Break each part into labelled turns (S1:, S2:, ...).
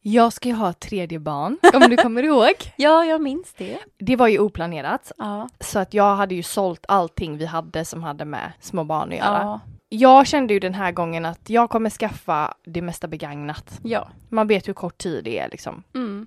S1: Jag ska ju ha ett tredje barn, om du kommer ihåg.
S2: Ja, jag minns det.
S1: Det var ju oplanerat,
S2: Ja.
S1: så att jag hade ju sålt allting vi hade som hade med små barn att göra.
S2: Ja.
S1: Jag kände ju den här gången att jag kommer skaffa det mesta begagnat.
S2: ja.
S1: Man vet hur kort tid det är liksom.
S2: Mm.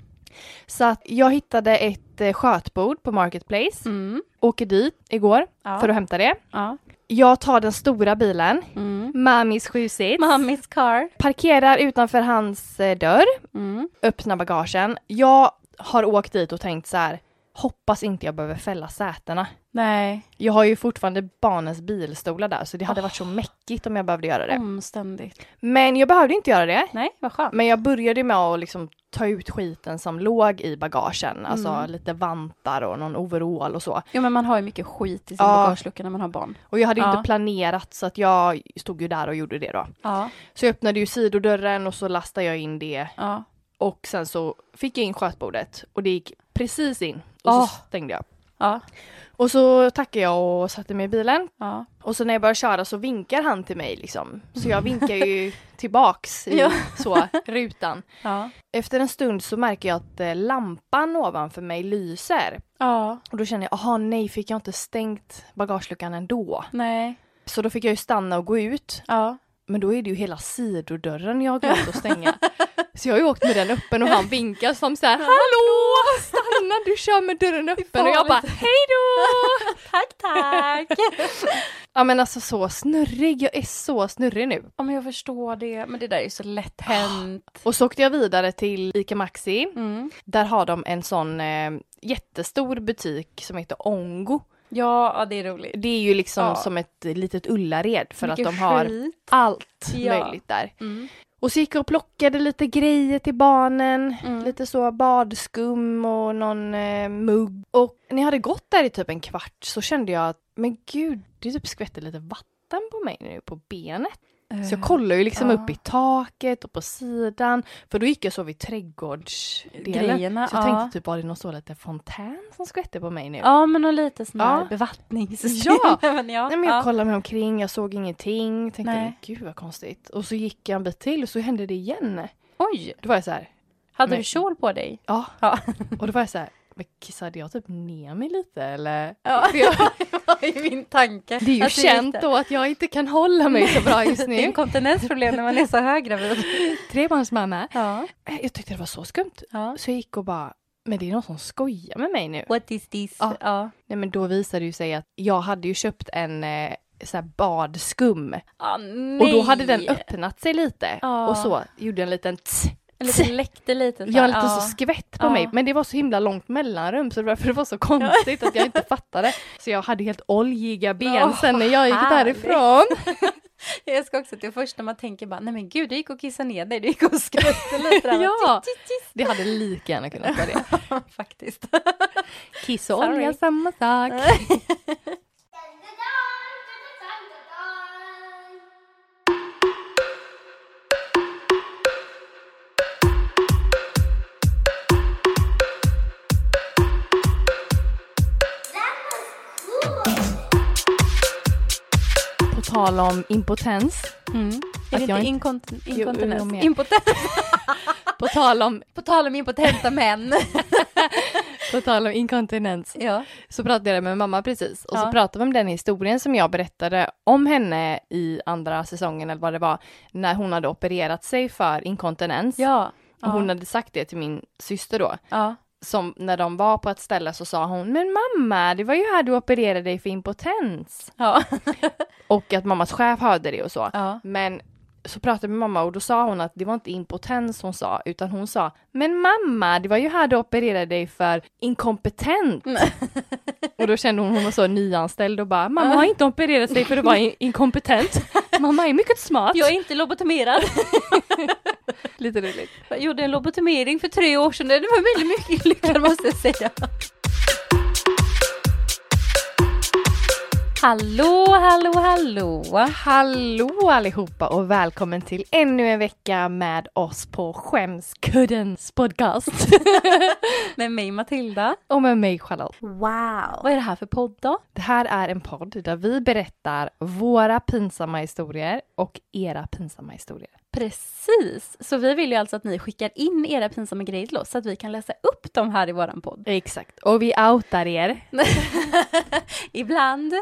S1: Så att jag hittade ett eh, skötbord på Marketplace,
S2: Mm.
S1: åker dit igår
S2: Ja.
S1: för att hämta det.
S2: ja.
S1: Jag tar den stora bilen,
S2: Mm.
S1: Mamis sjusits,
S2: Mammys car.
S1: parkerar utanför hans eh, dörr,
S2: Mm.
S1: öppnar bagagen. Jag har åkt dit och tänkt så här, hoppas inte jag behöver fälla sätena.
S2: Nej,
S1: Jag har ju fortfarande barnens bilstolar där så det hade varit
S2: Ah.
S1: så mäckigt om jag behövde göra
S2: Mm.
S1: det.
S2: omständigt.
S1: Men jag behövde inte göra det.
S2: Nej, vad skönt.
S1: Men jag började med att liksom ta ut skiten som låg i bagagen, alltså
S2: Mm.
S1: lite vantar och någon overall och så.
S2: Jo men man har ju mycket skit i sin
S1: Ja.
S2: bagagelucka när man har barn.
S1: Och jag hade ju
S2: Ja.
S1: inte planerat så att jag stod ju där och gjorde det då.
S2: Ja.
S1: Så jag öppnade ju sidodörren och så lastade jag in det
S2: Ja.
S1: och sen så fick jag in skötbordet och det gick precis in och så
S2: Ah.
S1: stängde jag.
S2: Ja.
S1: Och så tackade jag och satte mig i bilen
S2: Ja.
S1: och så när jag började köra så vinkar han till mig liksom. Så jag vinkar ju tillbaks i
S2: Ja.
S1: så, rutan.
S2: Ja.
S1: Efter en stund så märker jag att eh, lampan ovanför mig lyser.
S2: Ja.
S1: Och då känner jag, aha nej, fick jag inte stängt bagageluckan ändå?
S2: Nej.
S1: Så då fick jag ju stanna och gå ut.
S2: Ja.
S1: Men då är det ju hela sidodörren jag har glömt att stänga. så jag har ju åkt med den öppen och han vinkar som så här, hallå! Stanna, du kör med dörren öppen. Och jag bara, hej då!
S2: Tack, tack!
S1: Ja men alltså så snurrig, jag är så snurrig nu.
S2: ja, men jag förstår det. Men det där är ju så lätt hänt.
S1: Och så åkte jag vidare till ICA Maxi.
S2: Mm.
S1: Där har de en sån eh, jättestor butik som heter Ongo.
S2: Ja, ja, det är roligt.
S1: Det är ju liksom
S2: Ja.
S1: som ett litet Ullared för
S2: Mycket
S1: att de har
S2: skit.
S1: allt
S2: Ja.
S1: möjligt där.
S2: Mm.
S1: Och så gick jag och plockade lite grejer till barnen,
S2: Mm.
S1: lite så badskum och någon eh, mugg. Och när jag hade gått där i typ en kvart så kände jag att men gud, det typ skvätter lite vatten på mig nu på benet.
S2: Eh,
S1: Så jag kollar ju liksom
S2: Ja.
S1: upp i taket och på sidan. För då gick jag så vid trädgårdsdelen.
S2: Grejerna,
S1: så jag
S2: ja.
S1: tänkte typ, var det någon så liten fontän som skvätte på mig nu?
S2: Ja, men och lite sån här
S1: Ja.
S2: bevattningssystem.
S1: Ja.
S2: men ja.
S1: Nej, men jag
S2: ja.
S1: kollade mig omkring, jag såg ingenting. Tänkte,
S2: Nej.
S1: men gud vad konstigt. Och så gick jag en bit till och så hände det igen.
S2: Oj!
S1: Då var jag så här,
S2: Hade
S1: Men-
S2: du kjol på dig?
S1: ja.
S2: Ja.
S1: Och då var jag så här, men kissade jag typ ner mig lite eller?
S2: Ja,
S1: För jag,
S2: det var ju min tanke.
S1: det är ju
S2: Att du
S1: känt
S2: gick där.
S1: då att jag inte kan hålla mig så bra just
S2: Det är
S1: nu.
S2: inkontinensproblem när man är så höggravid.
S1: Trebarnsmamma.
S2: Ja.
S1: Eh, Jag tyckte det var så skumt.
S2: ja.
S1: Så jag gick och bara, men det är någon som skojar med mig nu.
S2: What is this?
S1: Ja.
S2: Ja.
S1: Nej men då visade det ju sig att jag hade ju köpt en eh, så här badskum
S2: Ah, nej.
S1: och då hade den öppnat sig lite
S2: Ja.
S1: och så gjorde en liten tss.
S2: En liten läckte lite. så
S1: Jag
S2: här.
S1: hade lite
S2: Ja.
S1: så skvätt på
S2: Ja.
S1: mig men det var så himla långt mellanrum så det var därför det var så konstigt att jag inte fattade. Så jag hade helt oljiga ben
S2: Åh,
S1: sen när jag gick
S2: vad härligt.
S1: därifrån.
S2: Jag ska också till först när man tänker bara, nej men gud, du gick och kissade ner dig, du gick och skvätte lite. där.
S1: Ja.
S2: Tis, tis, tis.
S1: Det hade lika gärna kunnat vara det.
S2: Faktiskt.
S1: Kiss och
S2: Sorry.
S1: olja, samma sak. På tal om impotens.
S2: Är det
S1: jag
S2: Mm. inte
S1: inte-
S2: inkontin-
S1: Jo, jo,
S2: inkontinens?
S1: mer.
S2: impotens.
S1: På tal om,
S2: På tal om impotenta män.
S1: på tal om inkontinens.
S2: ja.
S1: så pratade jag med mamma precis och
S2: Ja.
S1: så pratade vi om den historien som jag berättade om henne i andra säsongen eller vad det var när hon hade opererat sig för inkontinens.
S2: Ja.
S1: Och hon hade sagt det till min syster då.
S2: ja.
S1: Som när de var på ett ställe så sa hon men mamma det var ju här du opererade dig för impotens.
S2: Ja.
S1: Och att mammas chef hörde det och så.
S2: ja.
S1: Men så pratade jag med mamma och då sa hon att det var inte impotens hon sa utan hon sa Men mamma, det var ju här du opererade dig för inkompetent. och då kände hon, hon var så nyanställd och bara Mamma har inte opererat sig för att vara in- inkompetent. Mamma är mycket smart.
S2: Jag är inte lobotomerad.
S1: Lite roligt.
S2: Jag gjorde en lobotomering för tre år sedan. Det var väldigt mycket lyckad måste jag säga. Hallå, hallå, hallå.
S1: Hallå allihopa och välkommen till ännu en vecka med oss på Skämskuddens podcast.
S2: Med mig Matilda.
S1: och med mig Charlotte.
S2: Vad är det här för podd då?
S1: Det här är en podd där vi berättar våra pinsamma historier och era pinsamma historier.
S2: Precis, så vi vill ju alltså att ni skickar in era pinsamma grejer till oss så att vi kan läsa upp dem här i våran podd.
S1: Exakt. Och vi outar er.
S2: Ibland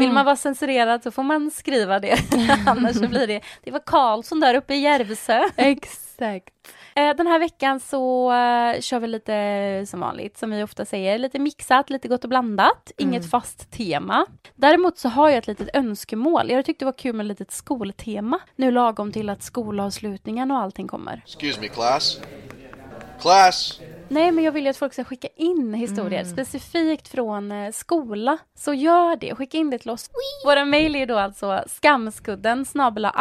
S2: vill man vara censurerad så får man skriva det, annars så blir det det var Karlsson där uppe i Järvsö.
S1: Exakt.
S2: Eh, Den här veckan så eh, kör vi lite eh, som vanligt, som vi ofta säger, lite mixat, lite gott och blandat, inget fast tema. Däremot så har jag ett litet önskemål. Jag tyckte det var kul med ett litet skoltema, nu lagom till att skolavslutningen och allting kommer.
S3: Excuse me, class. Class.
S2: Nej, men jag vill ju att folk ska skicka in historier, specifikt från eh, skola. Så gör det, skicka in det till oss. Våra mejl är då alltså skamskudden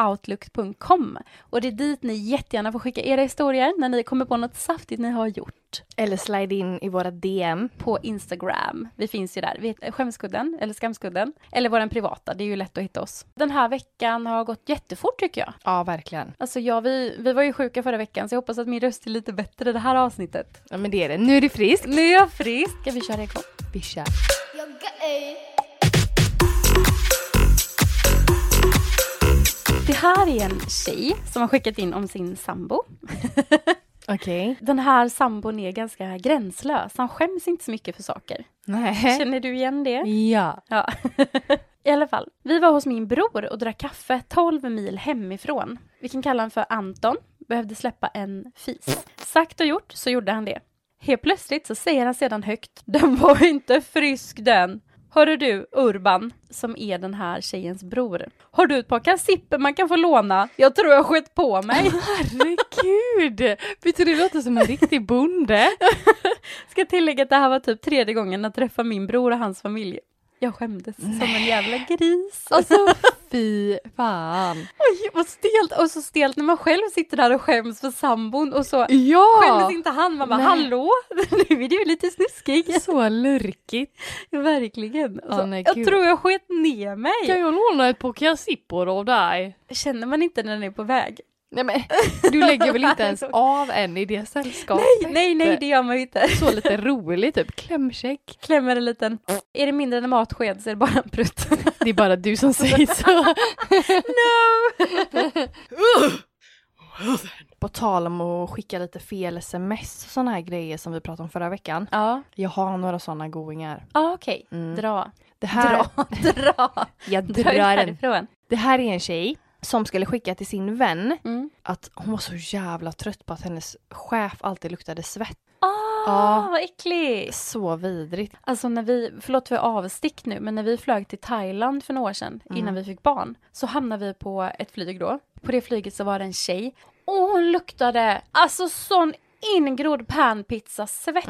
S2: outlook.com och det är dit ni jättegärna får skicka era historier när ni kommer på något saftigt ni har gjort.
S1: Eller slide in i våra DM.
S2: på Instagram. Vi finns ju där. Vi heter Skämskudden, eller Skamskudden, eller vår privata. Det är ju lätt att hitta oss. Den här veckan har gått jättefort tycker jag.
S1: Ja, verkligen.
S2: Alltså jag, vi, vi var ju sjuka förra veckan så jag hoppas att min röst är lite bättre i det här avsnittet.
S1: Ja, men det är det. Nu är det frisk.
S2: Nu är jag frisk! Ska vi köra igång?
S1: Vi kör.
S2: Det här är en tjej som har skickat in om sin sambo.
S1: Okej.
S2: Den här sambon är ganska gränslös. Han skäms inte så mycket för saker.
S1: Nej.
S2: Känner du igen det?
S1: Ja.
S2: Ja. I alla fall, vi var hos min bror och drack kaffe 12 mil hemifrån. Vi kan kalla honom för Anton. Behövde släppa en fis. Sagt och gjort så gjorde han det. Helt plötsligt så säger han sedan högt. Den var inte frisk den. Hörru du, Urban, som är den här tjejens bror. Har du ett par kassipper man kan få låna? Jag tror jag skett på mig.
S1: Herregud! Betyder det låter som en riktig bonde?
S2: Ska tillägga att det här var typ tredje gången jag träffade min bror och hans familj. Jag skämdes som en jävla gris.
S1: Alltså fy fan.
S2: Oj, vad stelt! Och så stelt när man själv sitter där och skäms för sambon och så
S1: Ja!
S2: skämdes inte han. Man bara,
S1: Nej.
S2: hallå, nu är du ju lite snuskig.
S1: Så lurkigt.
S2: Verkligen. Och så,
S1: Ja, nej,
S2: jag
S1: gud.
S2: tror jag sket ner mig.
S1: Kan jag låna ett par kassippor av dig?
S2: Känner man inte när den är på väg?
S1: Nej men du lägger väl inte ens av en i det sällskapet?
S2: Nej, nej, nej, det gör man ju inte.
S1: Så lite rolig typ, klämkäck.
S2: Klämmer en liten... Är det mindre än en matsked så är det bara en prutt.
S1: Det är bara du som säger så.
S2: no!
S1: På tal om att skicka lite fel sms och sådana här grejer som vi pratade om förra veckan.
S2: Ja,
S1: Jag har några sådana goingar. Mm.
S2: ah, okej. Dra.
S1: Det här,
S2: Dra, dra.
S1: Jag
S2: Dra dig
S1: drar den.
S2: härifrån.
S1: Det här är en tjej som skulle skicka till sin vän
S2: Mm.
S1: att hon var så jävla trött på att hennes chef alltid luktade svett.
S2: Ah,
S1: Ja.
S2: vad äckligt.
S1: Så vidrigt.
S2: Alltså när vi, förlåt för avstick nu, men när vi flög till Thailand för några år sedan
S1: Mm.
S2: innan vi fick barn så hamnade vi på ett flyg då. På det flyget så var det en tjej och hon luktade alltså sån ingrodd panpizza-svett.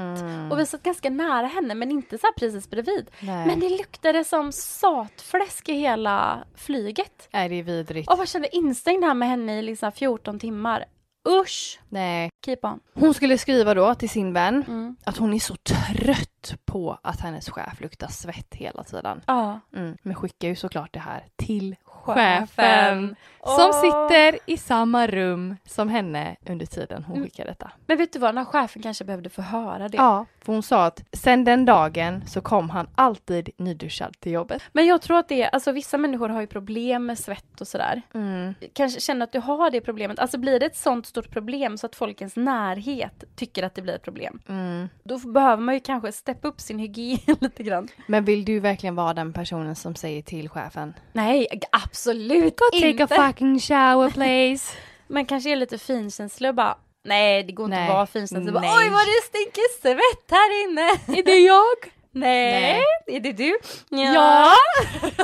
S2: Och vi satt ganska nära henne men inte så här precis bredvid.
S1: Mm. Nej.
S2: Men det luktade som satfläsk i hela flyget.
S1: Är det är vidrigt?
S2: Och jag kände instängd här med henne i liksom 14 timmar. Usch!
S1: Nej.
S2: Keep on. Mm.
S1: Hon skulle skriva då till sin vän att hon är så trött på att hennes chef luktar svett hela tiden.
S2: Ja.
S1: Mm. Men skickar ju såklart det här till
S2: Chefen.
S1: chefen. Som
S2: Åh.
S1: sitter i samma rum som henne under tiden
S2: Mm.
S1: hon skickar detta.
S2: Men vet du vad, den här chefen kanske behövde få höra det.
S1: Ja, för hon sa att sen den dagen så kom han alltid nyduschad till jobbet.
S2: Men jag tror att det är, alltså vissa människor har ju problem med svett och sådär.
S1: Mm.
S2: Kanske känner att du har det problemet. Alltså blir det ett sånt stort problem så att folkens närhet tycker att det blir ett problem.
S1: Mm.
S2: Då f- behöver man ju kanske steppa upp sin hygien lite grann.
S1: Men vill du verkligen vara den personen som säger till chefen?
S2: Nej, g- absolut
S1: Go take
S2: inte.
S1: a fucking shower please.
S2: Man kanske är lite finkänslig och bara, nej det går inte
S1: Nej.
S2: att vara finkänslig. Bara,
S1: Nej.
S2: Oj vad det stinker svett här inne.
S1: är det jag?
S2: nej. är det du?
S1: Ja.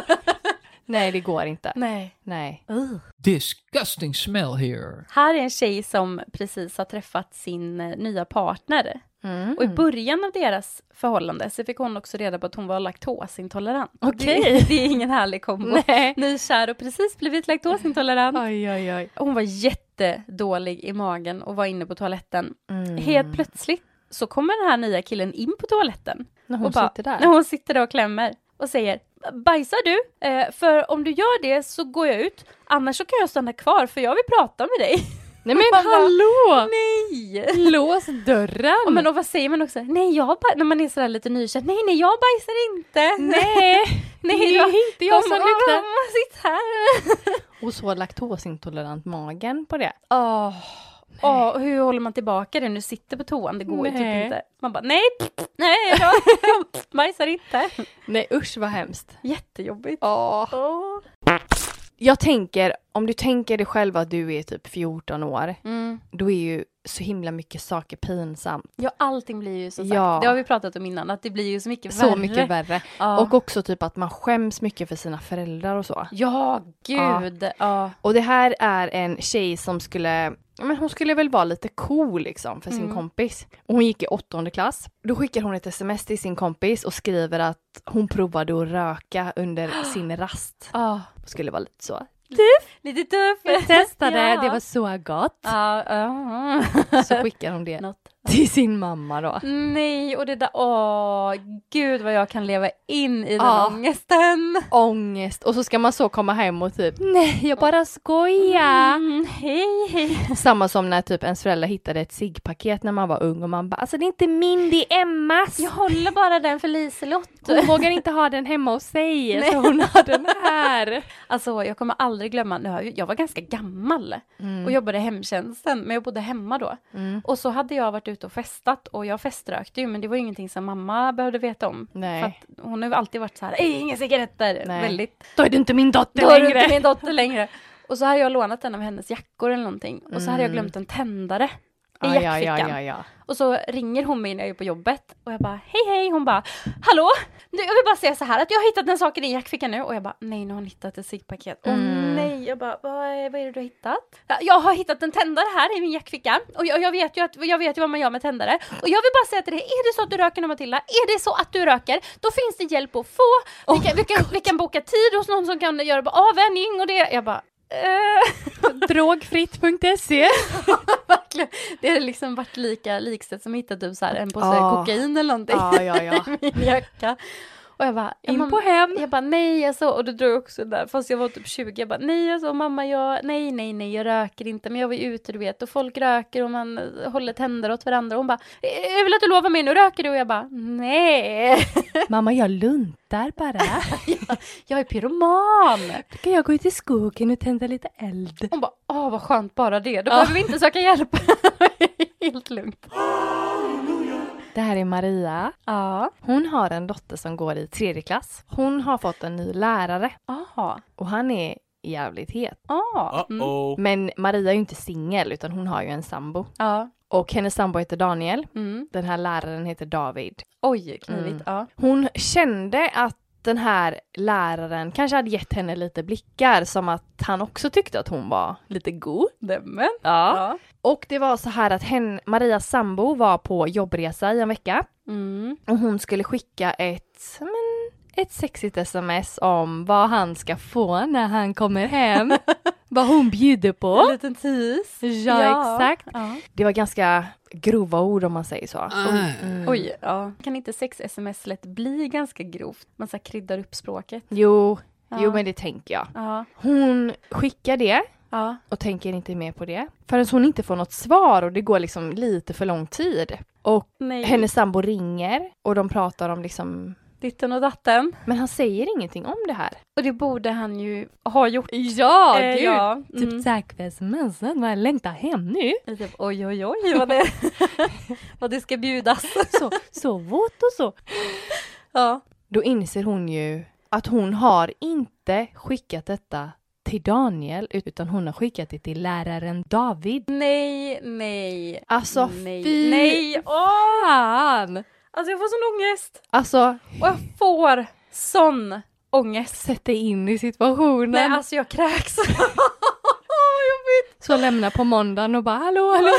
S1: Nej, det går inte. Mm.
S2: Nej.
S1: Nej.
S4: disgusting smell here.
S2: Här är en tjej som precis har träffat sin eh, nya partner.
S1: Mm.
S2: Och i början av deras förhållande så fick hon också reda på att hon var laktosintolerant.
S1: Okej.
S2: Det, det är ingen härlig kombo.
S1: Nej.
S2: Nykär och precis blivit laktosintolerant.
S1: Oj, oj, oj.
S2: Hon var jättedålig i magen och var inne på toaletten.
S1: Mm.
S2: Helt plötsligt så kommer den här nya killen in på toaletten.
S1: När hon
S2: och bara,
S1: sitter där?
S2: När hon sitter där och klämmer och säger Bajsar du? Eh, för om du gör det så går jag ut. Annars så kan jag stanna kvar för jag vill prata med dig.
S1: Nej men
S2: Man bara,
S1: hallå!
S2: Nej!
S1: Lås dörren!
S2: Och, men, och vad säger man också? Nej, jag baj-" när man är sådär lite nykär. Nej, nej, jag bajsar inte.
S1: nej,
S2: nej, jag,
S1: inte jag som luktar.
S2: Sitt här.
S1: Och så laktosintolerant magen på det.
S2: Åh, åh, och hur håller man tillbaka det när du sitter på toan? Det går ju typ
S1: Nej.
S2: inte. Man bara nej, pff, nej, jag bajsar inte.
S1: Nej usch vad hemskt.
S2: Jättejobbigt.
S1: Oh.
S2: Åh.
S1: Jag tänker, om du tänker dig själv att du är typ 14 år,
S2: Mm.
S1: då är ju så himla mycket saker pinsamt.
S2: Ja, allting blir ju som sagt,
S1: Ja.
S2: det har vi pratat om innan, att det blir ju så mycket
S1: Så
S2: värre.
S1: mycket värre.
S2: Ja,
S1: Och också typ att man skäms mycket för sina föräldrar och så.
S2: ja gud. Ja.
S1: Och det här är en tjej som skulle, ja, men hon skulle väl vara lite cool liksom för sin
S2: Mm.
S1: kompis. Och hon gick i åttonde klass. Då skickar hon ett sms till sin kompis och skriver att hon provade att röka under sin rast.
S2: Ja.
S1: Och skulle vara lite så.
S2: Lite tuff. Ja.
S1: så gott.
S2: Ja, ja.
S1: Så skickar hon det
S2: Något.
S1: till sin mamma då.
S2: Nej, och det där, åh, gud vad jag kan leva in i den
S1: Ja.
S2: ångesten.
S1: Ångest. Och så ska man så komma hem och typ nej jag bara skojar.
S2: Mm, hej, hej.
S1: Mm. Samma som när typ ens föräldrar hittade ett ciggpaket när man var ung och man bara alltså det är inte min det är Emmas.
S2: Jag håller bara den för Liselott.
S1: Hon vågar inte ha den hemma hos sig, så hon har den här.
S2: Alltså jag kommer aldrig glömma, nu har jag jag var ganska gammal och jobbade i hemtjänsten, men jag bodde hemma då. Och så hade jag varit ute och festat och jag feströkte ju, men det var ju ingenting som mamma behövde veta om.
S1: Nej.
S2: För att hon har ju alltid varit så här, "Ej, inga cigaretter,
S1: Nej.
S2: väldigt.
S1: Då är du inte min dotter
S2: Då har du
S1: längre.
S2: inte min dotter längre. Och så hade jag lånat en av hennes jackor eller någonting och så
S1: Mm.
S2: hade jag glömt en tändare i
S1: Ja, ja,
S2: jackfickan.
S1: ja, ja, ja.
S2: Och så ringer hon mig när jag är på jobbet och jag bara hej hej, hon bara hallå, nu, jag vill bara säga så här att jag har hittat en sak i din jackficka nu och jag bara nej nu har hon hittat ett ciggpaket. Åh nej, jag bara vad är, vad är det du har hittat? "Ja, Jag har hittat en tändare här i min jackficka och jag, jag, vet ju att, jag vet ju vad man gör med tändare och jag vill bara säga till dig, är det så att du röker nu Matilda, är det så att du röker, då finns det hjälp att få. Vi, kan, vi, kan, vi kan boka tid hos någon som kan göra bara avvänjning och det. Jag bara eh.
S1: Drogfritt.se.
S2: Verkligen. Det hade liksom varit lika likställt som att hitta typ så här en påse
S1: Ja.
S2: kokain eller någonting
S1: Ja, ja, ja.
S2: i min jacka. Och jag bara, ja,
S1: In
S2: mamma-
S1: på hem.
S2: jag bara nej alltså, och då drog jag också där, fast jag var typ 20, jag bara nej alltså mamma jag, nej nej nej jag röker inte, men jag var ju ute du vet och folk röker och man eh, håller tänder åt varandra och hon bara, "Eh, jag vill att du lovar mig nu röker du och jag bara nej,
S1: Mamma, jag luntar bara.
S2: jag är pyroman.
S1: Då kan jag gå ut i skogen och tända lite eld.
S2: Hon bara, åh vad skönt bara det, då behöver vi inte söka hjälp. Helt lugnt.
S1: Det här är Maria.
S2: Ja.
S1: Hon har en dotter som går i tredje klass. Hon har fått en ny lärare
S2: Aha.
S1: och han är jävligt het.
S2: Ja. Mm.
S1: Men Maria är ju inte singel utan hon har ju en sambo.
S2: Ja.
S1: Och hennes sambo heter Daniel.
S2: Mm.
S1: Den här läraren heter David.
S2: Oj, knivigt. Ja.
S1: Hon kände att den här läraren kanske hade gett henne lite blickar som att han också tyckte att hon var lite god.
S2: Nämen.
S1: Ja.
S2: Ja.
S1: Och det var så här att hen, Marias sambo var på jobbresa i en vecka
S2: Mm.
S1: och hon skulle skicka ett, men, ett sexigt sms om vad han ska få när han kommer hem. vad hon bjuder
S2: En
S1: på.
S2: liten tis.
S1: Ja, exakt.
S2: Ja.
S1: Det var ganska grova ord om man säger så.
S2: Oj, ja. Kan inte sex-sms lätt bli ganska grovt? Man så här kryddar upp språket.
S1: Jo,
S2: Ja.
S1: jo men det tänker jag.
S2: Ja.
S1: Hon skickar det
S2: Ja.
S1: och tänker inte mer på det förrän hon inte får något svar och det går liksom lite för lång tid. Och
S2: Nej.
S1: hennes sambo ringer och de pratar om liksom,
S2: Ditten och datten.
S1: men han säger ingenting om det här.
S2: Och det borde han ju ha gjort.
S1: Ja,
S2: Eh, ja. Mm.
S1: Typ tack för smsen, vad jag längtar hem nu.
S2: Typ, oj, oj, oj vad det, vad det ska bjudas.
S1: Så, så våt och så.
S2: Ja.
S1: Då inser hon ju att hon har inte skickat detta till Daniel utan hon har skickat det till läraren David.
S2: Nej, nej.
S1: Alltså
S2: nej.
S1: fy
S2: Nej, åh!
S1: fan!
S2: Alltså jag får sån ångest.
S1: Alltså
S2: Och jag får sån ångest.
S1: sätt dig in i situationen.
S2: Nej, alltså jag kräks. Vad jobbigt.
S1: Så lämna på måndagen och bara hallå hallå!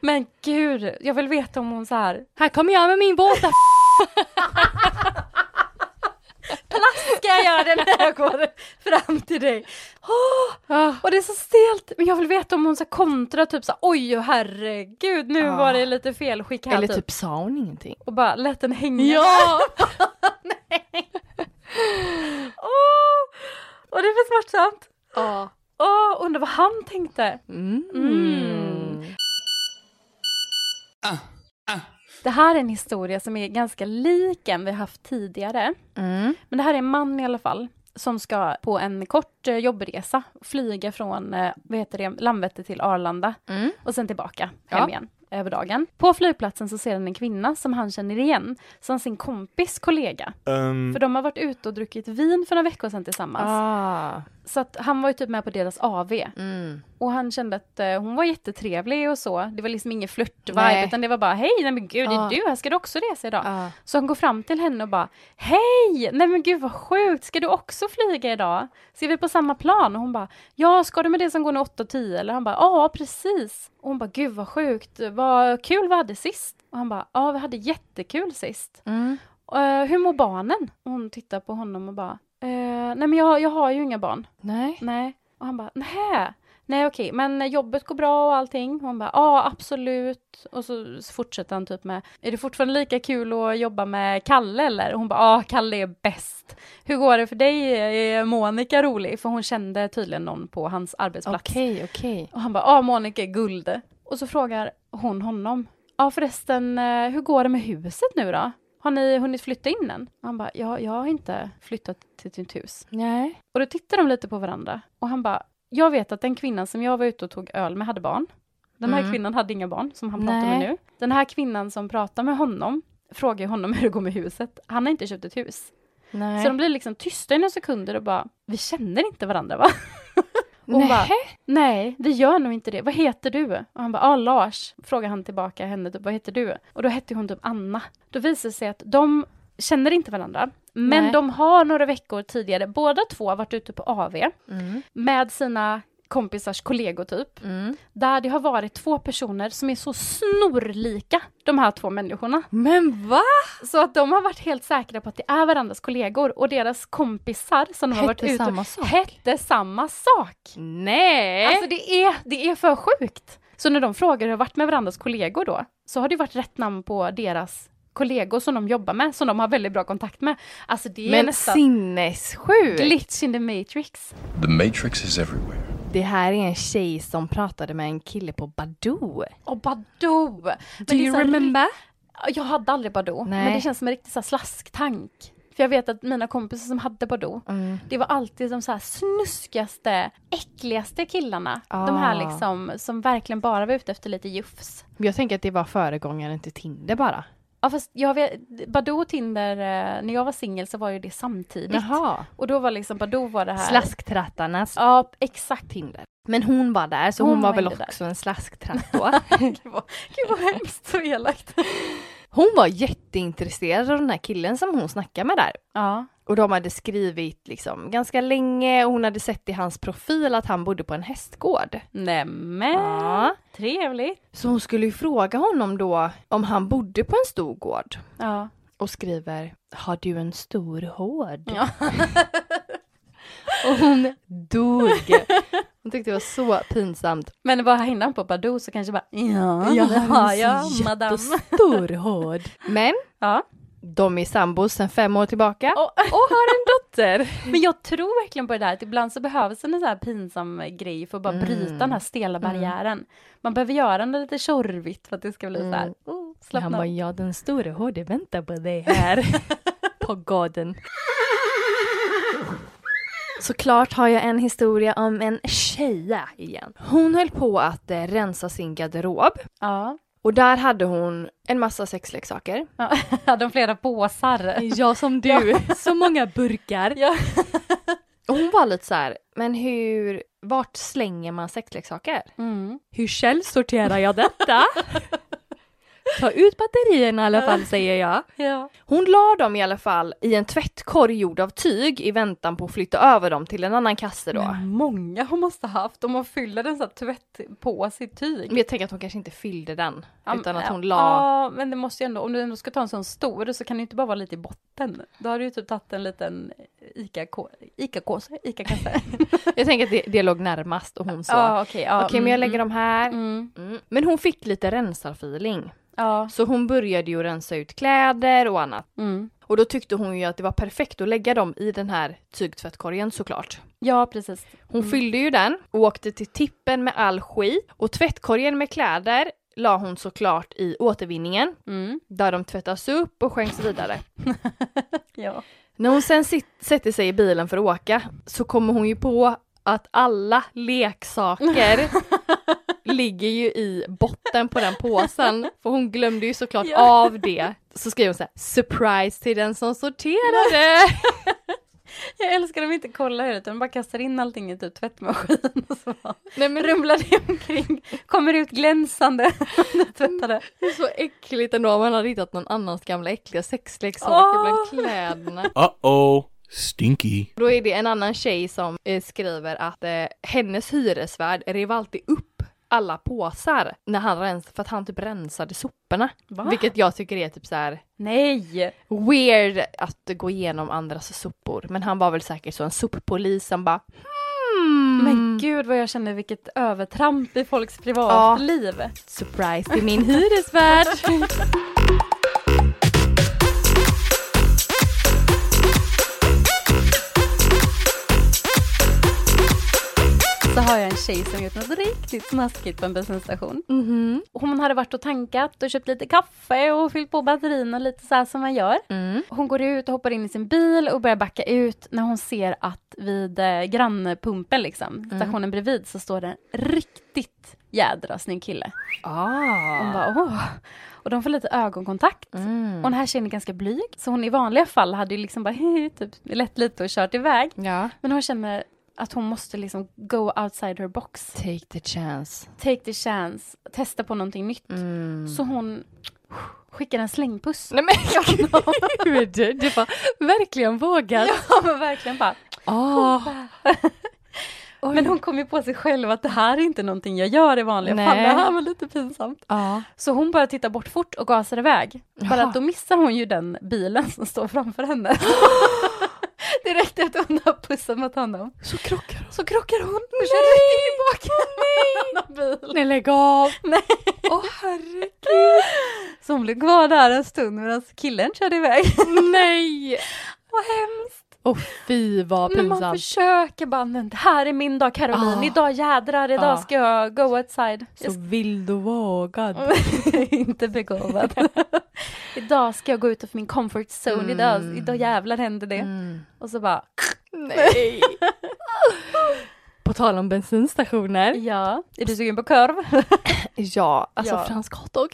S2: Men gud, jag vill veta om hon så här
S1: Här kommer jag med min våta f-
S2: Ska jag göra det när jag går fram till dig? Åh, och det är så stelt. Men jag vill veta om hon ska kontra typ så här, oj och herregud, nu
S1: Ja.
S2: var det lite felskick här
S1: Eller typ sa hon ingenting?
S2: Och bara lät den hänga. Åh, och det är för smärtsamt.
S1: Ja! Mm.
S2: Åh, undrar vad han tänkte. Mm.
S4: Ah, ah.
S2: Det här är en historia som är ganska lik en vi haft tidigare.
S1: Mm.
S2: Men det här är en man i alla fall som ska på en kort eh, jobbresa flyga från eh, vad heter det, Landvetter till Arlanda
S1: Mm.
S2: och sen tillbaka hem
S1: Ja.
S2: igen över dagen. På flygplatsen så ser han en kvinna som han känner igen som sin kompis kollega.
S5: Ehm,
S2: För de har varit ute och druckit vin för några veckor sedan tillsammans.
S1: Ah.
S2: Så att han var ju typ med på deras AV
S1: Mm.
S2: och han kände att eh, hon var jättetrevlig och så. Det var liksom ingen flört-vibe
S1: Nej.
S2: utan det var bara hej, nej men gud, det är
S1: Ja.
S2: du, här ska du också resa idag?
S1: Ah.
S2: Så han går fram till henne och bara Hej! Nej men gud vad sjukt, ska du också flyga idag? Ser vi på samma plan? Och hon bara Ja, ska du med det som går nu 8-10? Eller han bara Ja, precis. Och hon bara Gud vad sjukt, vad kul vi hade sist. Och han bara Ja, vi hade jättekul sist.
S1: Mm.
S2: "Eh, hur mår barnen? Och hon tittar på honom och bara "Eh, Nej men jag, jag har ju inga barn.
S1: Nej.
S2: Nej. Och han bara, nej. Nej okej, men jobbet går bra och allting? Hon bara, ja absolut. Och så fortsätter han typ med, är det fortfarande lika kul att jobba med Kalle eller? Och hon bara, ja Kalle är bäst. Hur går det för dig? Är Monica rolig? För hon kände tydligen någon på hans arbetsplats.
S1: Okej, okej.
S2: Och han bara, ja Monica är guld. Och så frågar hon honom, ja förresten, eh, hur går det med huset nu då? Har ni hunnit flytta in än? Och han bara, ja jag har inte flyttat till ditt hus.
S1: Nej.
S2: Och då tittar de lite på varandra och han bara, jag vet att den kvinnan som jag var ute och tog öl med hade barn. Den här
S1: Mm.
S2: kvinnan hade inga barn som han pratar med
S1: Nej.
S2: nu. Den här kvinnan som pratar med honom frågar ju honom hur det går med huset. Han har inte köpt ett hus.
S1: Nej.
S2: Så de blir liksom tysta i några sekunder och bara, vi känner inte varandra va? Och hon
S1: Nej.
S2: bara, nej, vi gör nog inte det. Vad heter du? Och han bara, ah, Lars. Frågar han tillbaka henne, typ, vad heter du? Och då hette hon typ Anna. Då visar det sig att de känner inte varandra. Men
S1: Nej.
S2: de har några veckor tidigare, båda två, varit ute på AV
S1: Mm.
S2: med sina kompisars kollegor typ.
S1: Mm.
S2: Där det har varit två personer som är så snorlika, de här två människorna.
S1: Men va?
S2: Så att de har varit helt säkra på att det är varandras kollegor och deras kompisar som de har varit
S1: Hette
S2: ute
S1: samma sak?
S2: hette samma sak.
S1: Nej.
S2: Alltså det är, det är för sjukt. Så när de frågar hur det har varit med varandras kollegor då, så har det ju varit rätt namn på deras kollegor som de jobbar med, som de har väldigt bra kontakt med. Alltså det är
S1: men
S2: nästan
S1: sinnessjukt!
S2: glitch in the matrix.
S6: The Matrix is everywhere.
S1: Det här är en tjej som pratade med en kille på Badoo.
S2: Och Badoo! Men det
S1: Do
S2: är
S1: you
S2: så här-
S1: remember?
S2: Jag hade aldrig Badoo, men
S1: Nej.
S2: det känns som en riktig så här slasktank. För jag vet att mina kompisar som hade Badoo,
S1: Mm.
S2: det var alltid de så här snuskigaste, äckligaste killarna.
S1: Ah.
S2: De här liksom, som verkligen bara var ute efter lite jufs.
S1: Jag tänker att det var föregångaren till Tinder bara.
S2: Ja fast jag vet, Badoo och Tinder, eh, när jag var singel så var ju det samtidigt.
S1: Jaha.
S2: Och då var liksom Badoo var det här.
S1: Slasktrattarnas
S2: Ja, exakt.
S1: Tinder. Men hon var där, så hon,
S2: Hon
S1: var
S2: var
S1: väl
S2: inte
S1: också en slasktratt då.
S2: Gud vad, gud vad hemskt och elakt.
S1: hon var jätteintresserad av den här killen som hon snackade med där.
S2: Ja.
S1: Och de hade skrivit liksom ganska länge och hon hade sett i hans profil att han bodde på en hästgård.
S2: Nämen.
S1: Ja.
S2: Trevligt.
S1: Så hon skulle ju fråga honom då om han bodde på en stor gård.
S2: Ja.
S1: och skriver Har du en stor hård?
S2: Ja.
S1: och hon dog. Hon tyckte det var så pinsamt.
S2: Men var han innan på Badoo så kanske bara ja, det har jag madame.
S1: stor hård. Men
S2: Ja.
S1: de är sambos sedan fem år tillbaka.
S2: Och,
S1: Och har en dotter.
S2: men jag tror verkligen på det där att ibland så behövs en sån här pinsam grej för att bara bryta den här stela barriären. Man behöver göra den lite tjorvigt för att det ska bli så här, oh, slappna
S1: Han
S2: av.
S1: bara, ja den stora hårde väntar på dig här. på gården. Såklart har jag en historia om en tjeja igen. Hon höll på att eh, rensa sin garderob.
S2: Ja.
S1: Och där hade hon en massa sexleksaker.
S2: Ja, hade de flera påsar?
S1: Ja, som du. så många burkar.
S2: Ja.
S1: Och hon var lite så här, men hur, vart slänger man sexleksaker?
S2: Mm.
S1: Hur källsorterar jag detta? Ta ut batterierna i alla fall, säger jag.
S2: Ja.
S1: Hon la dem i alla fall i en tvättkorg gjord av tyg i väntan på att flytta över dem till en annan kasse då.
S2: Men många hon måste haft om hon fyller en sån här tvättpåse i tyg.
S1: Men jag tänker att hon kanske inte fyllde den, utan att hon la...
S2: Ja, men det måste ju ändå, om du ändå ska ta en sån stor så kan det ju inte bara vara lite i botten. Då har du ju typ tagit en liten ICA-kåse, ICA-kasse. Ica
S1: Jag tänker att det, det låg närmast och hon sa
S2: ja, okej. ja,
S1: okej, men jag lägger
S2: mm,
S1: dem här.
S2: Mm,
S1: Mm. Men hon fick lite rensarfeeling.
S2: ja,
S1: Så hon började ju rensa ut kläder och annat.
S2: mm,
S1: Och Och då tyckte hon ju att det var perfekt att lägga dem i den här tygtvättkorgen såklart.
S2: Ja, precis.
S1: Hon fyllde ju den och åkte till tippen med all skit och tvättkorgen med kläder la hon såklart i återvinningen
S2: Mm.
S1: där de tvättas upp och skänks vidare.
S2: Ja.
S1: När hon sen sit- sätter sig i bilen för att åka så kommer hon ju på att alla leksaker ligger ju i botten på den påsen för hon glömde ju såklart
S2: Ja.
S1: av det. Så skriver hon så här, surprise till den som sorterade!
S2: Jag älskar om vi inte kollar hur det utan bara kastar in allting i typ tvättmaskinen och så bara
S1: Nej men det
S2: rumlar det omkring, kommer ut glänsande när du tvättar det.
S1: är så äckligt ändå om man hade hittat någon annans gamla äckliga sexleksaker
S2: Åh.
S1: bland kläderna.
S5: Uh-oh. Stinky.
S1: Då är det en annan tjej som eh, skriver att eh, hennes hyresvärd rev alltid upp alla påsar när han rensade, för att han typ rensade soporna.
S2: Va?
S1: Vilket jag tycker är typ så här
S2: Nej!
S1: weird att gå igenom andras sopor. Men han var väl säkert så en soppolis som bara hmm,
S2: Men gud vad jag känner vilket övertramp i folks privatliv.
S1: surprise till min hyresvärd.
S2: Så har jag en tjej som gjort något riktigt snaskigt på en bensinstation.
S1: Mhm.
S2: Mm-hmm. Hon hade varit och tankat och köpt lite kaffe och fyllt på batterierna lite så här som man gör.
S1: Mm.
S2: Hon går ut och hoppar in i sin bil och börjar backa ut när hon ser att vid eh, grannpumpen, liksom, stationen bredvid, så står det en riktigt jädra snygg kille. Hon
S1: Ah.
S2: bara åh. Och de får lite ögonkontakt.
S1: Mm.
S2: Och den här tjejen är ganska blyg, så hon i vanliga fall hade ju liksom bara typ, lätt lite och kört iväg.
S1: Ja.
S2: Men hon känner att hon måste liksom go outside her box.
S1: Take the chance.
S2: Take the chance, testa på någonting nytt.
S1: Mm.
S2: Så hon skickar en slängpuss.
S1: Nej men gud, det var verkligen vågat.
S2: Ja men verkligen bara.
S1: Ah.
S2: Men hon kom ju på sig själv att det här är inte någonting jag gör i vanliga
S1: Nej.
S2: fall. Det här var lite pinsamt.
S1: Ja.
S2: Så hon bara tittar bort fort och gasar iväg. Bara
S1: Jaha.
S2: att då missar hon ju den bilen som står framför henne. det räckte att hon har pussat mot honom.
S1: Så krockar hon.
S2: Så krockar hon och kör rätt in i baken på en annan bil.
S1: Nej lägg av!
S2: Nej.
S1: Åh herregud!
S2: Så hon blev kvar där en stund medan killen körde iväg.
S1: Nej!
S2: Vad hemskt.
S1: Åh fy vad
S2: När man
S1: pinsamt.
S2: försöker bara, men det här är min dag Caroline,
S1: Ah.
S2: idag jädrar, idag
S1: Ah.
S2: ska jag go outside. Jag
S1: Så vild och vågad.
S2: inte begåvad. idag ska jag gå ut ur min comfort zone, idag,
S1: Mm.
S2: idag jävlar händer det. Och så bara,
S1: Nej! På tal om bensinstationer.
S2: ja, är du sugen på korv?
S1: Ja, alltså
S2: Ja.
S1: fransk hotdog.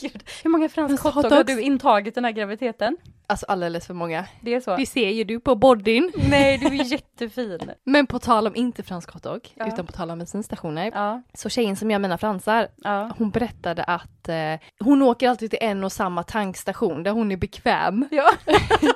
S2: Gud. Hur många franska
S1: Alltså,
S2: hotdog har
S1: hotdogs-
S2: du intagit den här graviditeten?
S1: Alltså alldeles för många.
S2: Det är så?
S1: Det ser ju du på bodyn.
S2: Nej, du är jättefin.
S1: Men på tal om inte fransk hotdog,
S2: Ja.
S1: utan på tal om bensinstationer.
S2: Ja,
S1: Så tjejen som gör mina fransar,
S2: ja.
S1: hon berättade att eh, hon åker alltid till en och samma tankstation där hon är bekväm.
S2: Ja.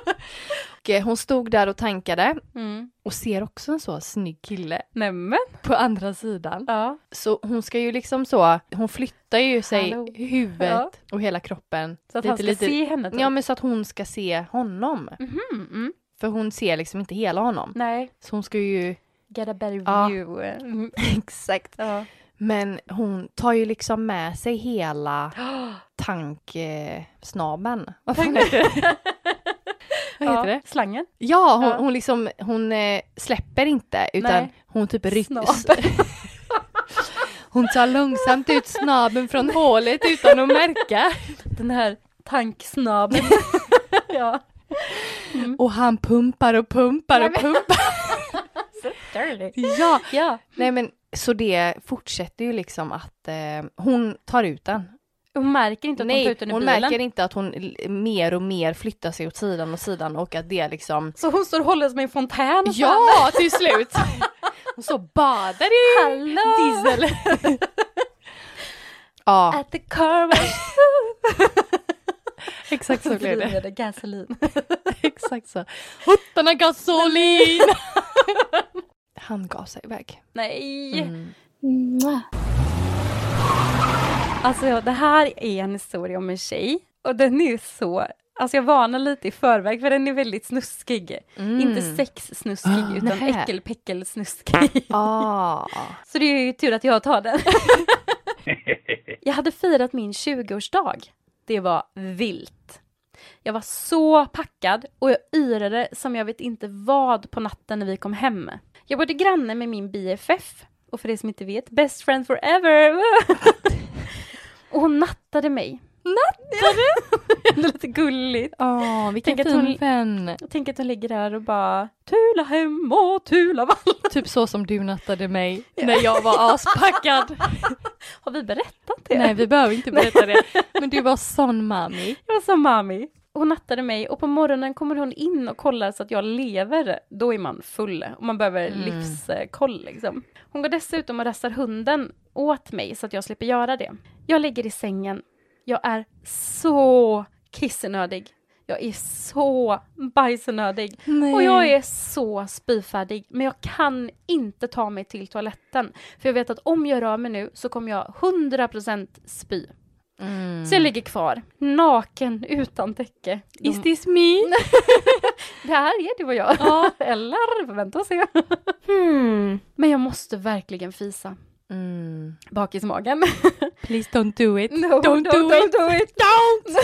S1: Och, eh, hon stod där och tankade
S2: Mm.
S1: och ser också en så snygg kille
S2: Nämen.
S1: på andra sidan.
S2: Ja.
S1: Så hon ska ju liksom så, hon flyttar ju sig
S2: Hallå.
S1: huvudet
S2: Ja.
S1: och hela kroppen.
S2: Så att han ska se henne typ.
S1: Ja men så att hon ska se honom.
S2: Mm, mm.
S1: För hon ser liksom inte hela honom.
S2: Nej,
S1: Så hon ska ju...
S2: get a better
S1: Ja.
S2: view. Mm.
S1: Exakt.
S2: Ja.
S1: Men hon tar ju liksom med sig hela tanksnabeln. Vad fan heter det? Vad heter
S2: Ja,
S1: det?
S2: Slangen.
S1: Ja, hon,
S2: Ja.
S1: hon liksom, hon eh, släpper inte utan
S2: Nej.
S1: hon typ rycker...
S2: Snabeln.
S1: hon tar långsamt ut snabeln från hålet utan att märka.
S2: Den här tanksnabeln. ja. Mm.
S1: Och han pumpar och pumpar och pumpar. ja,
S2: Ja.
S1: nej men så det fortsätter ju liksom att eh, hon tar ut den.
S2: Hon märker inte att hon tar
S1: Nej,
S2: ut den ur
S1: hon
S2: bilen.
S1: märker inte att hon l- mer och mer flyttar sig åt sidan och sidan och att det liksom
S2: Så hon står och håller som i en fontän. och så här,
S1: Ja, till slut! Och så badar i
S2: Hallå!
S1: diesel. ja,
S2: At the car wash.
S1: exakt så blev det.
S2: det. Gasolin.
S1: Exakt så. Huttarna gasolin! Han gav sig iväg.
S2: Nej. Alltså ja, det här är en historia om en tjej och den är så, alltså jag varnar lite i förväg för den är väldigt snuskig.
S1: Mm.
S2: Inte sexsnuskig utan
S1: nähä.
S2: äckelpäckelsnuskig.
S1: Ah.
S2: Så det är ju tur att jag tar den. jag hade firat min 20-årsdag. Det var vilt. Jag var så packad och jag yrade som jag vet inte vad på natten när vi kom hem. Jag bodde granne med min BFF och för de som inte vet, best friend forever. och hon nattade mig. Nattade? det är lite gulligt.
S1: Åh, Ah, vilken
S2: Tänk att
S1: fin
S2: hon-
S1: vän.
S2: Jag tänker att hon ligger där och bara tula hem och tula vall.
S1: Typ så som du nattade mig när jag var aspackad.
S2: Har vi berättat det?
S1: Nej, vi behöver inte berätta det. Men du var sån mami.
S2: Jag var som mami. Hon nattade mig och på morgonen kommer hon in och kollar så att jag lever. Då är man full och man behöver livskoll liksom. Hon går dessutom och rastar hunden åt mig så att jag slipper göra det. Jag ligger i sängen. Jag är så kissnödig. Jag är så bajsnödig.
S1: Nej.
S2: Och jag är så spyfärdig. Men jag kan inte ta mig till toaletten. För jag vet att om jag rör mig nu så kommer jag 100% spy. Så jag ligger kvar, naken, utan täcke.
S1: Is this me?
S2: Det här är du och jag. Ja. Eller, vänta och se. Hmm. Men jag måste verkligen fisa.
S1: Mm.
S2: Bakismagen.
S1: Please don't do it.
S2: No,
S1: don't do
S2: don't,
S1: it. Don't!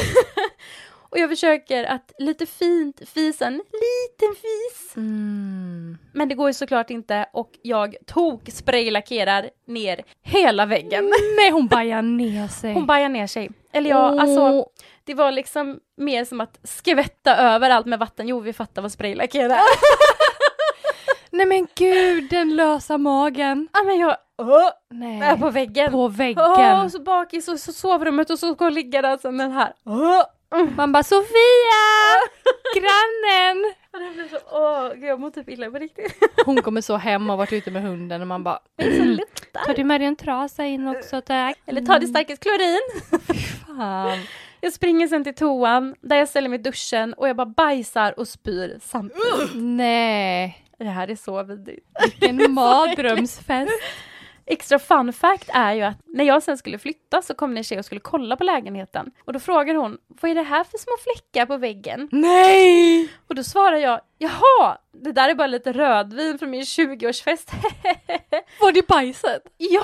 S2: och jag försöker att lite fint fisa en liten fis.
S1: Mm.
S2: Men det går ju såklart inte och jag tok spraylackerar ner hela väggen.
S1: Mm, Nej, hon bajar ner sig.
S2: Hon bajar ner sig. Eller jag, alltså
S1: Åh.
S2: det var liksom mer som att skvätta överallt med vatten. Jo, vi fattar vad spraylackerare är.
S1: Nej men gud, den lösa magen.
S2: Ja, men jag... Åh!
S1: Nej.
S2: Där på väggen.
S1: På väggen.
S2: Åh, och så bakis och så sovrummet och så går jag ligga där som den här. Åh!
S1: Man bara Sofia! Grannen!
S2: Och det blir så, åh, gud, jag mår typ illa på riktigt.
S1: Hon kommer så hem och varit ute med hunden och man bara "Mm,
S2: Så lättar.
S1: Tar du med dig en trasa in också tack?
S2: Eller ta det starkast klorin.
S1: Fan.
S2: Jag springer sen till toan där jag ställer mig i duschen och jag bara bajsar och spyr samtidigt.
S1: Nej,
S2: Det här är så vidrigt.
S1: vilken mardrömsfest.
S2: Extra fun fact är ju att när jag sen skulle flytta så kom det en tjej och skulle kolla på lägenheten. Och då frågar hon, vad är det här för små fläckar på väggen?
S1: Nej!
S2: Och då svarar jag, jaha, det där är bara lite rödvin från min 20-årsfest.
S1: Var det bajset?
S2: ja!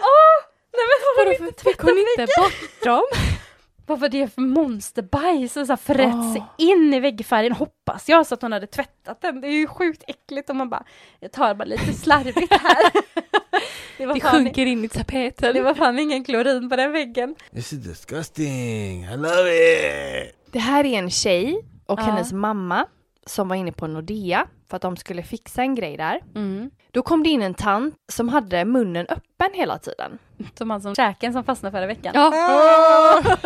S2: Åh! nej men har de
S1: Varför
S2: inte
S1: fick hon
S2: tvättat
S1: inte
S2: väggen?
S1: bort dem?
S2: Vad var det för monsterbajs som så här frätt sig
S1: Åh.
S2: in i väggfärgen hoppas jag så att hon hade tvättat den. Det är ju sjukt äckligt om man bara, jag tar bara lite slarvigt här. det, var
S1: Det
S2: fan,
S1: sjunker in i tapeten.
S2: det var fan ingen klorin på den väggen.
S7: This is disgusting. I love it.
S1: Det här är en tjej och
S2: Ja.
S1: hennes mamma som var inne på Nordea för att de skulle fixa en grej där.
S2: Mm.
S1: Då kom det in en tant som hade munnen öppen hela tiden.
S2: Som han som käken som fastnade förra veckan.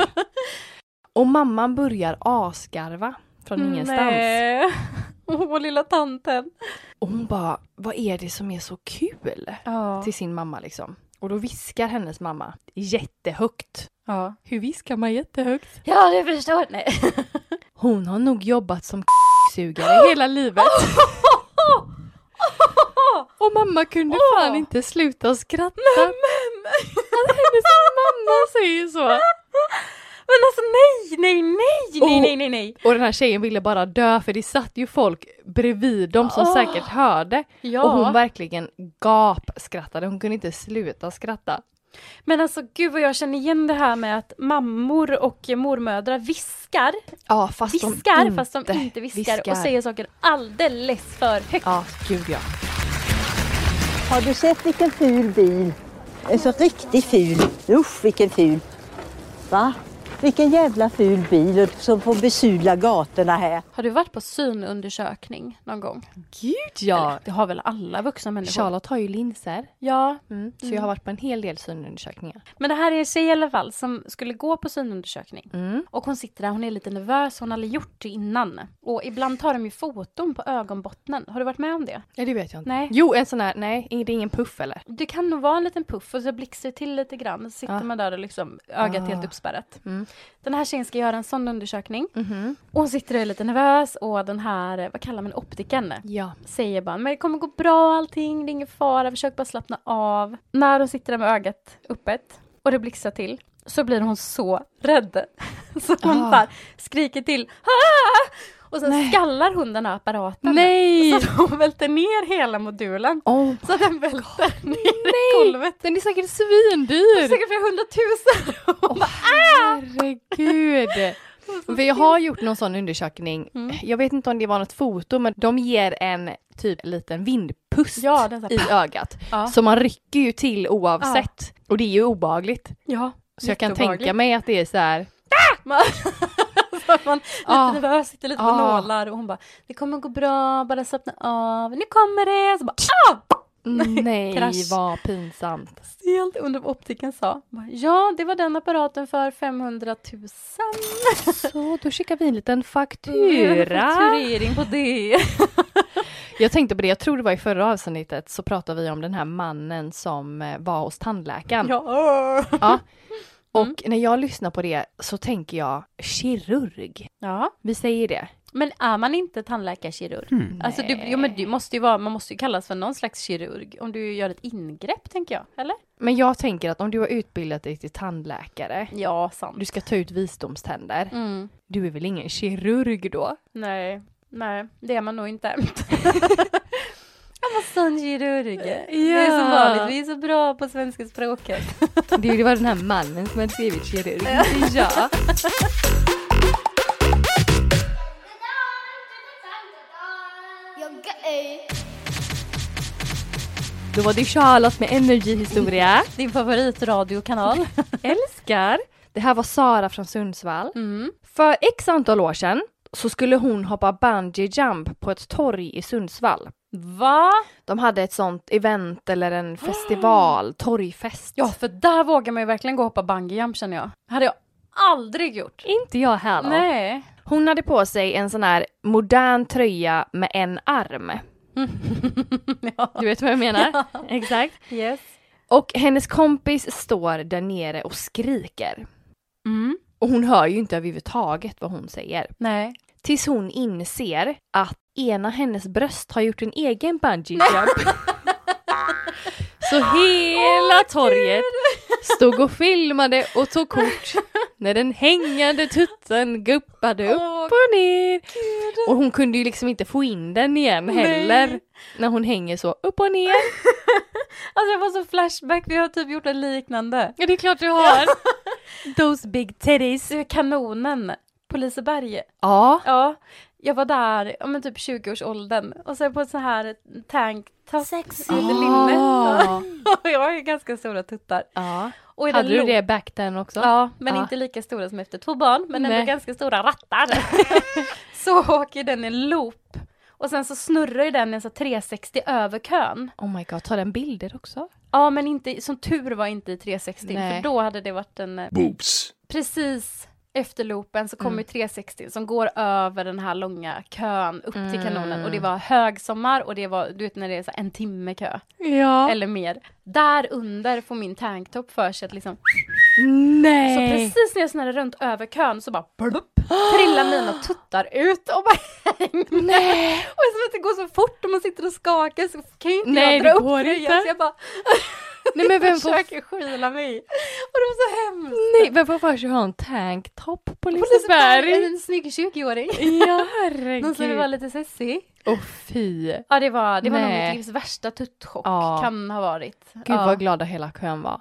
S1: Och mamman börjar asgarva från ingenstans.
S2: Nej. Åh, lilla tanten.
S1: Och hon bara, vad är det som är så kul?
S2: Ja.
S1: Till sin mamma liksom. Och då viskar hennes mamma jättehögt.
S2: Ja,
S1: Hur viskar man jättehögt?
S2: ja det förstår Nej.
S1: Hon har nog jobbat som sugare hela livet. Och mamma kunde
S2: Åh!
S1: fan inte sluta skratta.
S2: Alltså,
S1: Att hennes mamma säger så.
S2: Men alltså nej, nej, nej, nej,
S1: Och-
S2: nej, nej, nej.
S1: Och den här tjejen ville bara dö för det satt ju folk bredvid dem som
S2: Åh.
S1: säkert hörde.
S2: Ja.
S1: Och hon verkligen gapskrattade, hon kunde inte sluta skratta.
S2: Men alltså gud vad jag känner igen det här med att mammor och mormödrar viskar,
S1: Ja fast
S2: viskar
S1: de
S2: fast de inte viskar, och säger saker alldeles för högt.
S1: Ja, gud ja.
S8: Har du sett vilken ful bil? En så riktigt ful. Usch, vilken ful. Va? Vilken jävla ful bil som får besudla gatorna här.
S2: Har du varit på synundersökning någon gång?
S1: Gud ja.
S2: Eller, Det har väl alla vuxna människor?
S1: Eh, Charlotte har ju linser, Mm.
S2: Ja,
S1: så jag har varit på en hel del synundersökningar.
S2: Mm. men det här är en tjej i alla fall som skulle gå på synundersökning. Och hon sitter där, hon är lite nervös, hon har aldrig gjort det innan. Och ibland tar de ju foton på ögonbottnen. Har du varit med om det?
S1: Nej det vet jag inte.
S2: Nej.
S1: Jo en sån här, nej det är ingen puff eller?
S2: Det kan nog vara en liten puff och så blixtrar det till lite grann. Så sitter
S1: Ja.
S2: man där och liksom ögat
S1: Ah.
S2: helt uppspärrat.
S1: Mm. Mm-hmm.
S2: Den här tjejen ska göra en sån undersökning. Och hon sitter och är lite nervös och den här, vad kallar man optiken
S1: Ja.
S2: Säger bara, men det kommer gå bra allting, det är ingen fara, försök bara slappna av. När hon sitter där med ögat öppet och det blixtrar till så blir hon så rädd. Så hon
S1: Ah.
S2: bara skriker till. "Ah!" Och sen
S1: Nej.
S2: skallar hon den här apparaten. Så
S1: Nej!
S2: att hon välter ner hela modulen.
S1: Oh,
S2: Så den välter ner i
S1: nej!
S2: golvet.
S1: Den är säkert
S2: Det är Ah!
S1: svindyr!
S2: Säkert flera hundratusen. Hon bara,
S1: Herregud!
S2: "Ah!"
S1: jag har gjort någon sån undersökning.
S2: Mm.
S1: Jag vet inte om det var något foto, men de ger en typ liten vindpust
S2: Ja, den så här-
S1: i ögat.
S2: Ja.
S1: Så man rycker ju till oavsett. Och det är ju obagligt.
S2: Ja.
S1: Så jag kan tänka mig att det är så här.
S2: Man, så att man lite
S1: Ah.
S2: nervös, sitter lite på
S1: Ah.
S2: nålar och hon bara det kommer gå bra, bara slappna av, nu kommer det. Så bara, ah!
S1: Nej,
S2: krasch.
S1: vad pinsamt.
S2: Helt under vad optiken sa. Bara, ja, det var den apparaten för 500 000.
S1: Så, då skickar vi en liten faktura.
S2: Turering på det.
S1: Jag tänkte på det, jag tror det var i förra avsnittet så pratade vi om den här mannen som eh, var hos tandläkaren.
S2: Ja.
S1: Ja. Och när jag lyssnar på det så tänker jag kirurg.
S2: ja.
S1: Vi säger det.
S2: Men är man inte tandläkarkirurg? Alltså, du, jo, men du måste ju vara, man måste ju kallas för någon slags kirurg om du gör ett ingrepp, tänker jag. Eller?
S1: Men jag tänker att om du har utbildat dig till tandläkare,
S2: Ja,
S1: du
S2: sant.
S1: ska ta ut visdomständer,
S2: Mm.
S1: du är väl ingen kirurg då?
S2: Nej, nej, det är man nog inte. Jag måste ha en kirurg. Det är som vanligt, vi är så bra på svenska språket.
S1: Det det var den här mannen som hade skrivit kirurg, inte jag. Då var det Charlotte med energihistoria.
S2: Din favoritradiokanal.
S1: Älskar. Det här var Sara från Sundsvall. För x antal år sedan så skulle hon hoppa bungee jump på ett torg i Sundsvall.
S2: Va?
S1: De hade ett sånt event eller en festival, torgfest.
S2: Ja, för där vågar man ju verkligen gå och hoppa bungyjump känner jag. hade jag aldrig gjort.
S1: Inte jag heller.
S2: Nej.
S1: Hon hade på sig en sån här modern tröja med en arm.
S2: ja.
S1: Du vet vad jag menar? Exakt.
S2: Yes.
S1: Och hennes kompis står där nere och skriker.
S2: Mm.
S1: Och hon hör ju inte överhuvudtaget vad hon säger.
S2: Nej.
S1: Tills hon inser att ena hennes bröst har gjort en egen bungee jump. Så hela torget stod och filmade och tog kort när den hängande tutten guppade upp
S2: Åh,
S1: och ner. Och hon kunde ju liksom inte få in den igen heller när hon hänger så upp och ner.
S2: Alltså jag får så flashback, vi har typ gjort en liknande.
S1: Ja, det är klart du har. Those big titties.
S2: Du, Kanonen på Liseberg.
S1: Ja,
S2: Ja, jag var där, ja men typ 20-årsåldern och sen på ett så här tanktop. Sexigt linne.
S1: Ah.
S2: Och jag har ju ganska stora tuttar.
S1: ja.
S2: Och i
S1: Hade
S2: den
S1: du
S2: lo-
S1: det back then också? Ah,
S2: Ja, men
S1: Ja.
S2: inte lika stora som efter två barn, men
S1: Nej.
S2: ändå ganska stora rattar. så åker den i en loop. Och sen så snurrar ju den en så 360 över kön.
S1: Oh my god, tar den bilder också?
S2: Ja, men inte, som tur var inte i 360,
S1: Nej.
S2: för då hade det varit en... eh,
S6: Boobs.
S2: Precis efter loopen så kommer
S1: Mm.
S2: ju 360 som går över den här långa kön upp
S1: Mm.
S2: till kanonen. Och det var högsommar och det var, du vet när det är så här en timme kö.
S1: Ja.
S2: Eller mer. Där under får min tanktop för sig att liksom
S1: Nej!
S2: Så precis när jag snurrar runt över kön så bara blupp, trillar mina tuttar ut och bara hänger.
S1: Nej!
S2: Och eftersom att det går så fort och man sitter och skakar så kan ju inte
S1: Nej,
S2: jag dra
S1: det
S2: upp
S1: går
S2: tröjan,
S1: inte.
S2: Så jag bara
S1: Nej men vem får,
S2: försöker skyla mig. Och det var så hemskt.
S1: nej, vem får för sig att ha en tanktop på
S2: Och det är så där,
S1: Liseberg?
S2: En snygg 20-åring.
S1: Ja
S2: Någon som var
S1: herregud.
S2: lite sessig.
S1: Åh fy. Gud
S2: Ja det var, det var nog
S1: Nej.
S2: mitt livs värsta tuttchock
S1: Ja.
S2: kan ha varit. ja.
S1: vad glada hela kön var.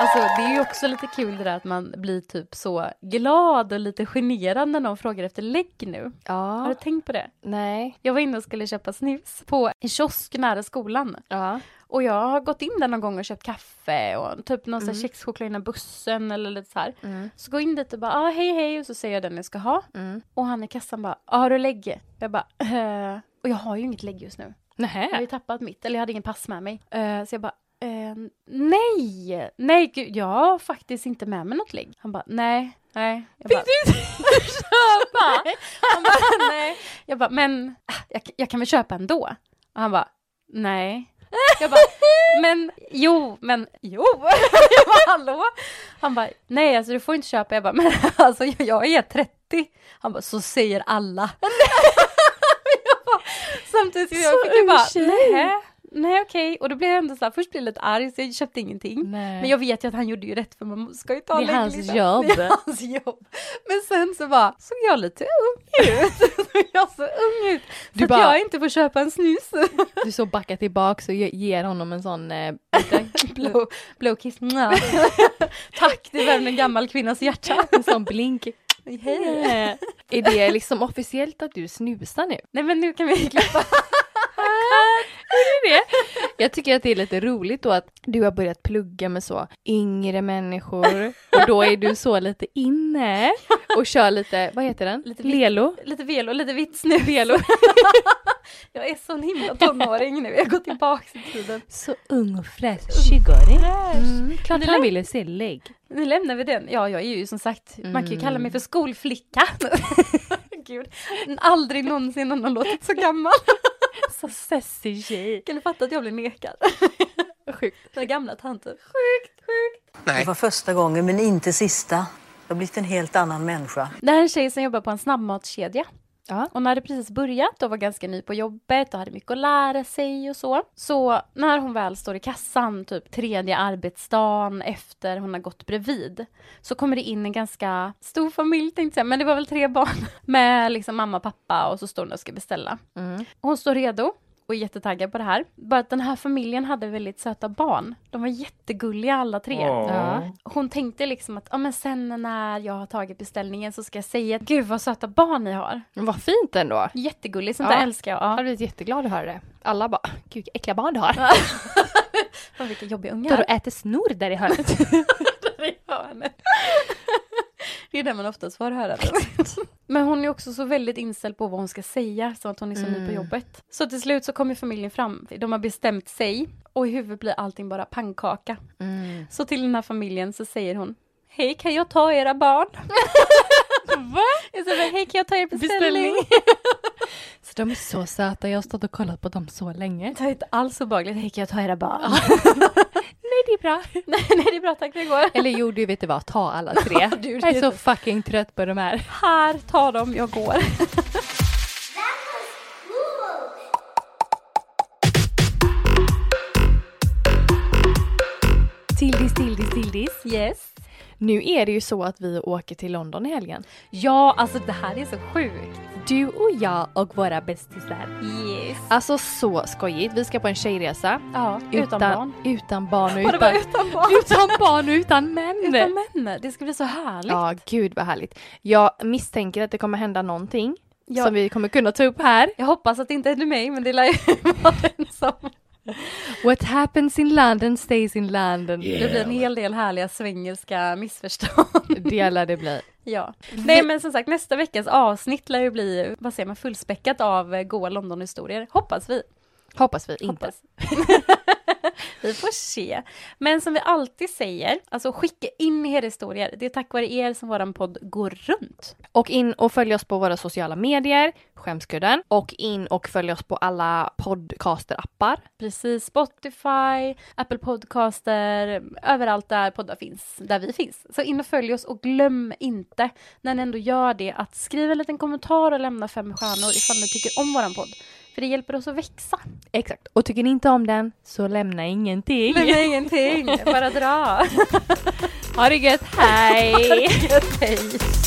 S2: Alltså det är ju också lite kul det där att man blir typ så glad och lite generad när någon frågar efter lägg nu. Har
S1: Ja.
S2: du tänkt på det?
S1: Nej.
S2: Jag var inne och skulle köpa snus på en kiosk nära skolan.
S1: Ja.
S2: Och jag har gått in där någon gång och köpt kaffe och typ någon mm. kexchoklad innan bussen eller lite så här. Så går jag in dit och bara ah, hej hej och så säger jag den jag ska ha.
S1: Mm.
S2: Och han i kassan bara ah, har du lägg? Jag bara eh. Och jag har ju inget lägg just nu. Jag har ju
S1: Nej.
S2: tappat mitt, eller jag hade ingen pass med mig. Eh, så jag bara, eh, nej, nej gud, jag har faktiskt inte med mig något ligg. Han bara, nej, nej. Jag bara,
S1: du köpa?
S2: han bara, nej. Jag bara, men ah, jag, jag kan väl köpa ändå? Och han bara, nej. Jag bara, men jo, men jo. Jag bara, hallå? Han bara, nej alltså du får inte köpa. Jag bara, men alltså jag, jag är 30. Han bara, så säger alla. Jag bara, Samtidigt, jag
S1: Så
S2: fick ju
S1: ung
S2: bara,
S1: tjej.
S2: nej. nej okej. Och då blev jag ändå så här, först blev jag lite arg så jag köpte ingenting.
S1: Nej.
S2: Men jag vet ju att han gjorde ju rätt för man ska ju ta
S1: Det är hans
S2: lägglistan.
S1: jobb.
S2: Det är hans jobb. Men sen så bara, såg jag lite ung ut? såg jag så ung ut? Så
S1: Du
S2: att
S1: bara-
S2: jag inte får köpa en snus.
S1: Du så backar tillbaka och ge- ger honom en sån... Eh, liten-
S2: blow, blow kiss. Mwah. Tack, det värmer en gammal kvinnas hjärta.
S1: en sån blink.
S2: Hej.
S1: Är det liksom officiellt att du snusar nu?
S2: Nej men nu kan vi klippa.
S1: det. Jag tycker att det är lite roligt då att du har börjat plugga med så yngre människor och då är du så lite inne och kör lite, vad heter den?
S2: Lite vitt.
S1: Lelo?
S2: Lite velo, lite vitt snus. Velo. jag är sån himla tonåring nu, jag går tillbaks i tiden.
S1: Så ung och fräsch, 20-åring. Mm, klart
S2: han
S1: han ville se lägg.
S2: Nu lämnar vi den. Ja, jag är ju som sagt, man kan ju kalla mig för skolflicka. Gud, aldrig någonsin har någon låtit så gammal.
S1: Så sessig tjej.
S2: Kan du fatta att jag blir nekad?
S1: Sjukt.
S2: Den gamla tanten. Sjukt, sjukt.
S8: Det var första gången men inte sista. Jag har blivit en helt annan människa.
S2: Det här är en tjej som jobbar på en snabbmatskedja.
S1: Ja.
S2: Hon hade precis börjat och var ganska ny på jobbet och hade mycket att lära sig och så. Så när hon väl står i kassan, typ tredje arbetsdagen efter hon har gått bredvid, så kommer det in en ganska stor familj tänkte jag säga, men det var väl tre barn med liksom mamma, pappa och så står hon och ska beställa.
S1: Mm.
S2: Hon står redo och är jättetaggad på det här. Bara att den här familjen hade väldigt söta barn. De var jättegulliga alla tre.
S1: Ja.
S2: Hon tänkte liksom att ja men sen när jag har tagit beställningen så ska jag säga gud vad söta barn ni har.
S1: Men Vad fint ändå.
S2: Jättegulligt, sånt
S1: Ja.
S2: där älskar jag.
S1: Jag
S2: Ja.
S1: hade blivit jätteglad att höra det. Alla bara, gud vilka äckliga barn du har.
S2: Fan, vilka jobbiga
S1: Står
S2: ungar.
S1: och äter snor där i hörnet.
S2: det är det man oftast får höra. Men hon är också så väldigt inställd på vad hon ska säga, så att hon är så ny på jobbet. Så till slut så kommer familjen fram, de har bestämt sig och i huvudet blir allting bara pannkaka. Så till den här familjen så säger hon Hej, kan jag ta era barn? Va? Jag säger, Hej, kan jag ta er beställning?
S1: Beställning. Så de är så söta, jag har stått och kollat på dem så länge.
S2: Det är inte alls obehagligt. Hej, kan jag ta era barn?
S1: Nej det är bra.
S2: nej, nej, det är bra, tack, det går.
S1: Eller jo, du vet du vad, ta alla tre.
S2: du,
S1: jag är
S2: det-
S1: så fucking trött på de här.
S2: Här, ta dem, jag går.
S1: Tildis, Tildis, Tildis.
S2: Yes.
S1: Nu är det ju så att vi åker till London i helgen.
S2: Ja, alltså det här är så sjukt.
S1: Du och jag och våra bästisar.
S2: Yes.
S1: Alltså så skojigt. Vi ska på en tjejresa.
S2: Ja, utan, barn.
S1: Utan barn och
S2: Var det
S1: utan...
S2: bara utan barn?
S1: utan barn och utan män.
S2: Utan män, det ska bli så härligt.
S1: Ja, gud vad härligt. Jag misstänker att det kommer hända någonting
S2: Ja.
S1: som vi kommer kunna ta upp här.
S2: Jag hoppas att det inte är mig, men det lär ju vara den som...
S1: What happens in London stays in London.
S2: Det blir en hel del härliga svengelska missförstånd.
S1: Det lär det bli.
S2: ja. Nej men som sagt, nästa veckas avsnitt lär ju bli, vad säger man, fullspäckat av eh, goa Londonhistorier. Hoppas vi.
S1: Hoppas vi inte.
S2: Hoppas. vi får se. Men som vi alltid säger, alltså skicka in era historier. Det är tack vare er som våran podd går runt.
S1: Och in och följ oss på våra sociala medier, Skämskudden. Och in och följ oss på alla podcasterappar.
S2: Precis, Spotify, Apple Podcaster, överallt där poddar finns, där vi finns. Så in och följ oss och glöm inte, när ni ändå gör det, att skriva en liten kommentar och lämna fem stjärnor ifall ni tycker om våran podd. För det hjälper oss att växa.
S1: Exakt. Och tycker ni inte om den så lämna ingenting.
S2: Lämna ingenting, bara dra.
S1: Ha det gött, hej!
S2: Hej.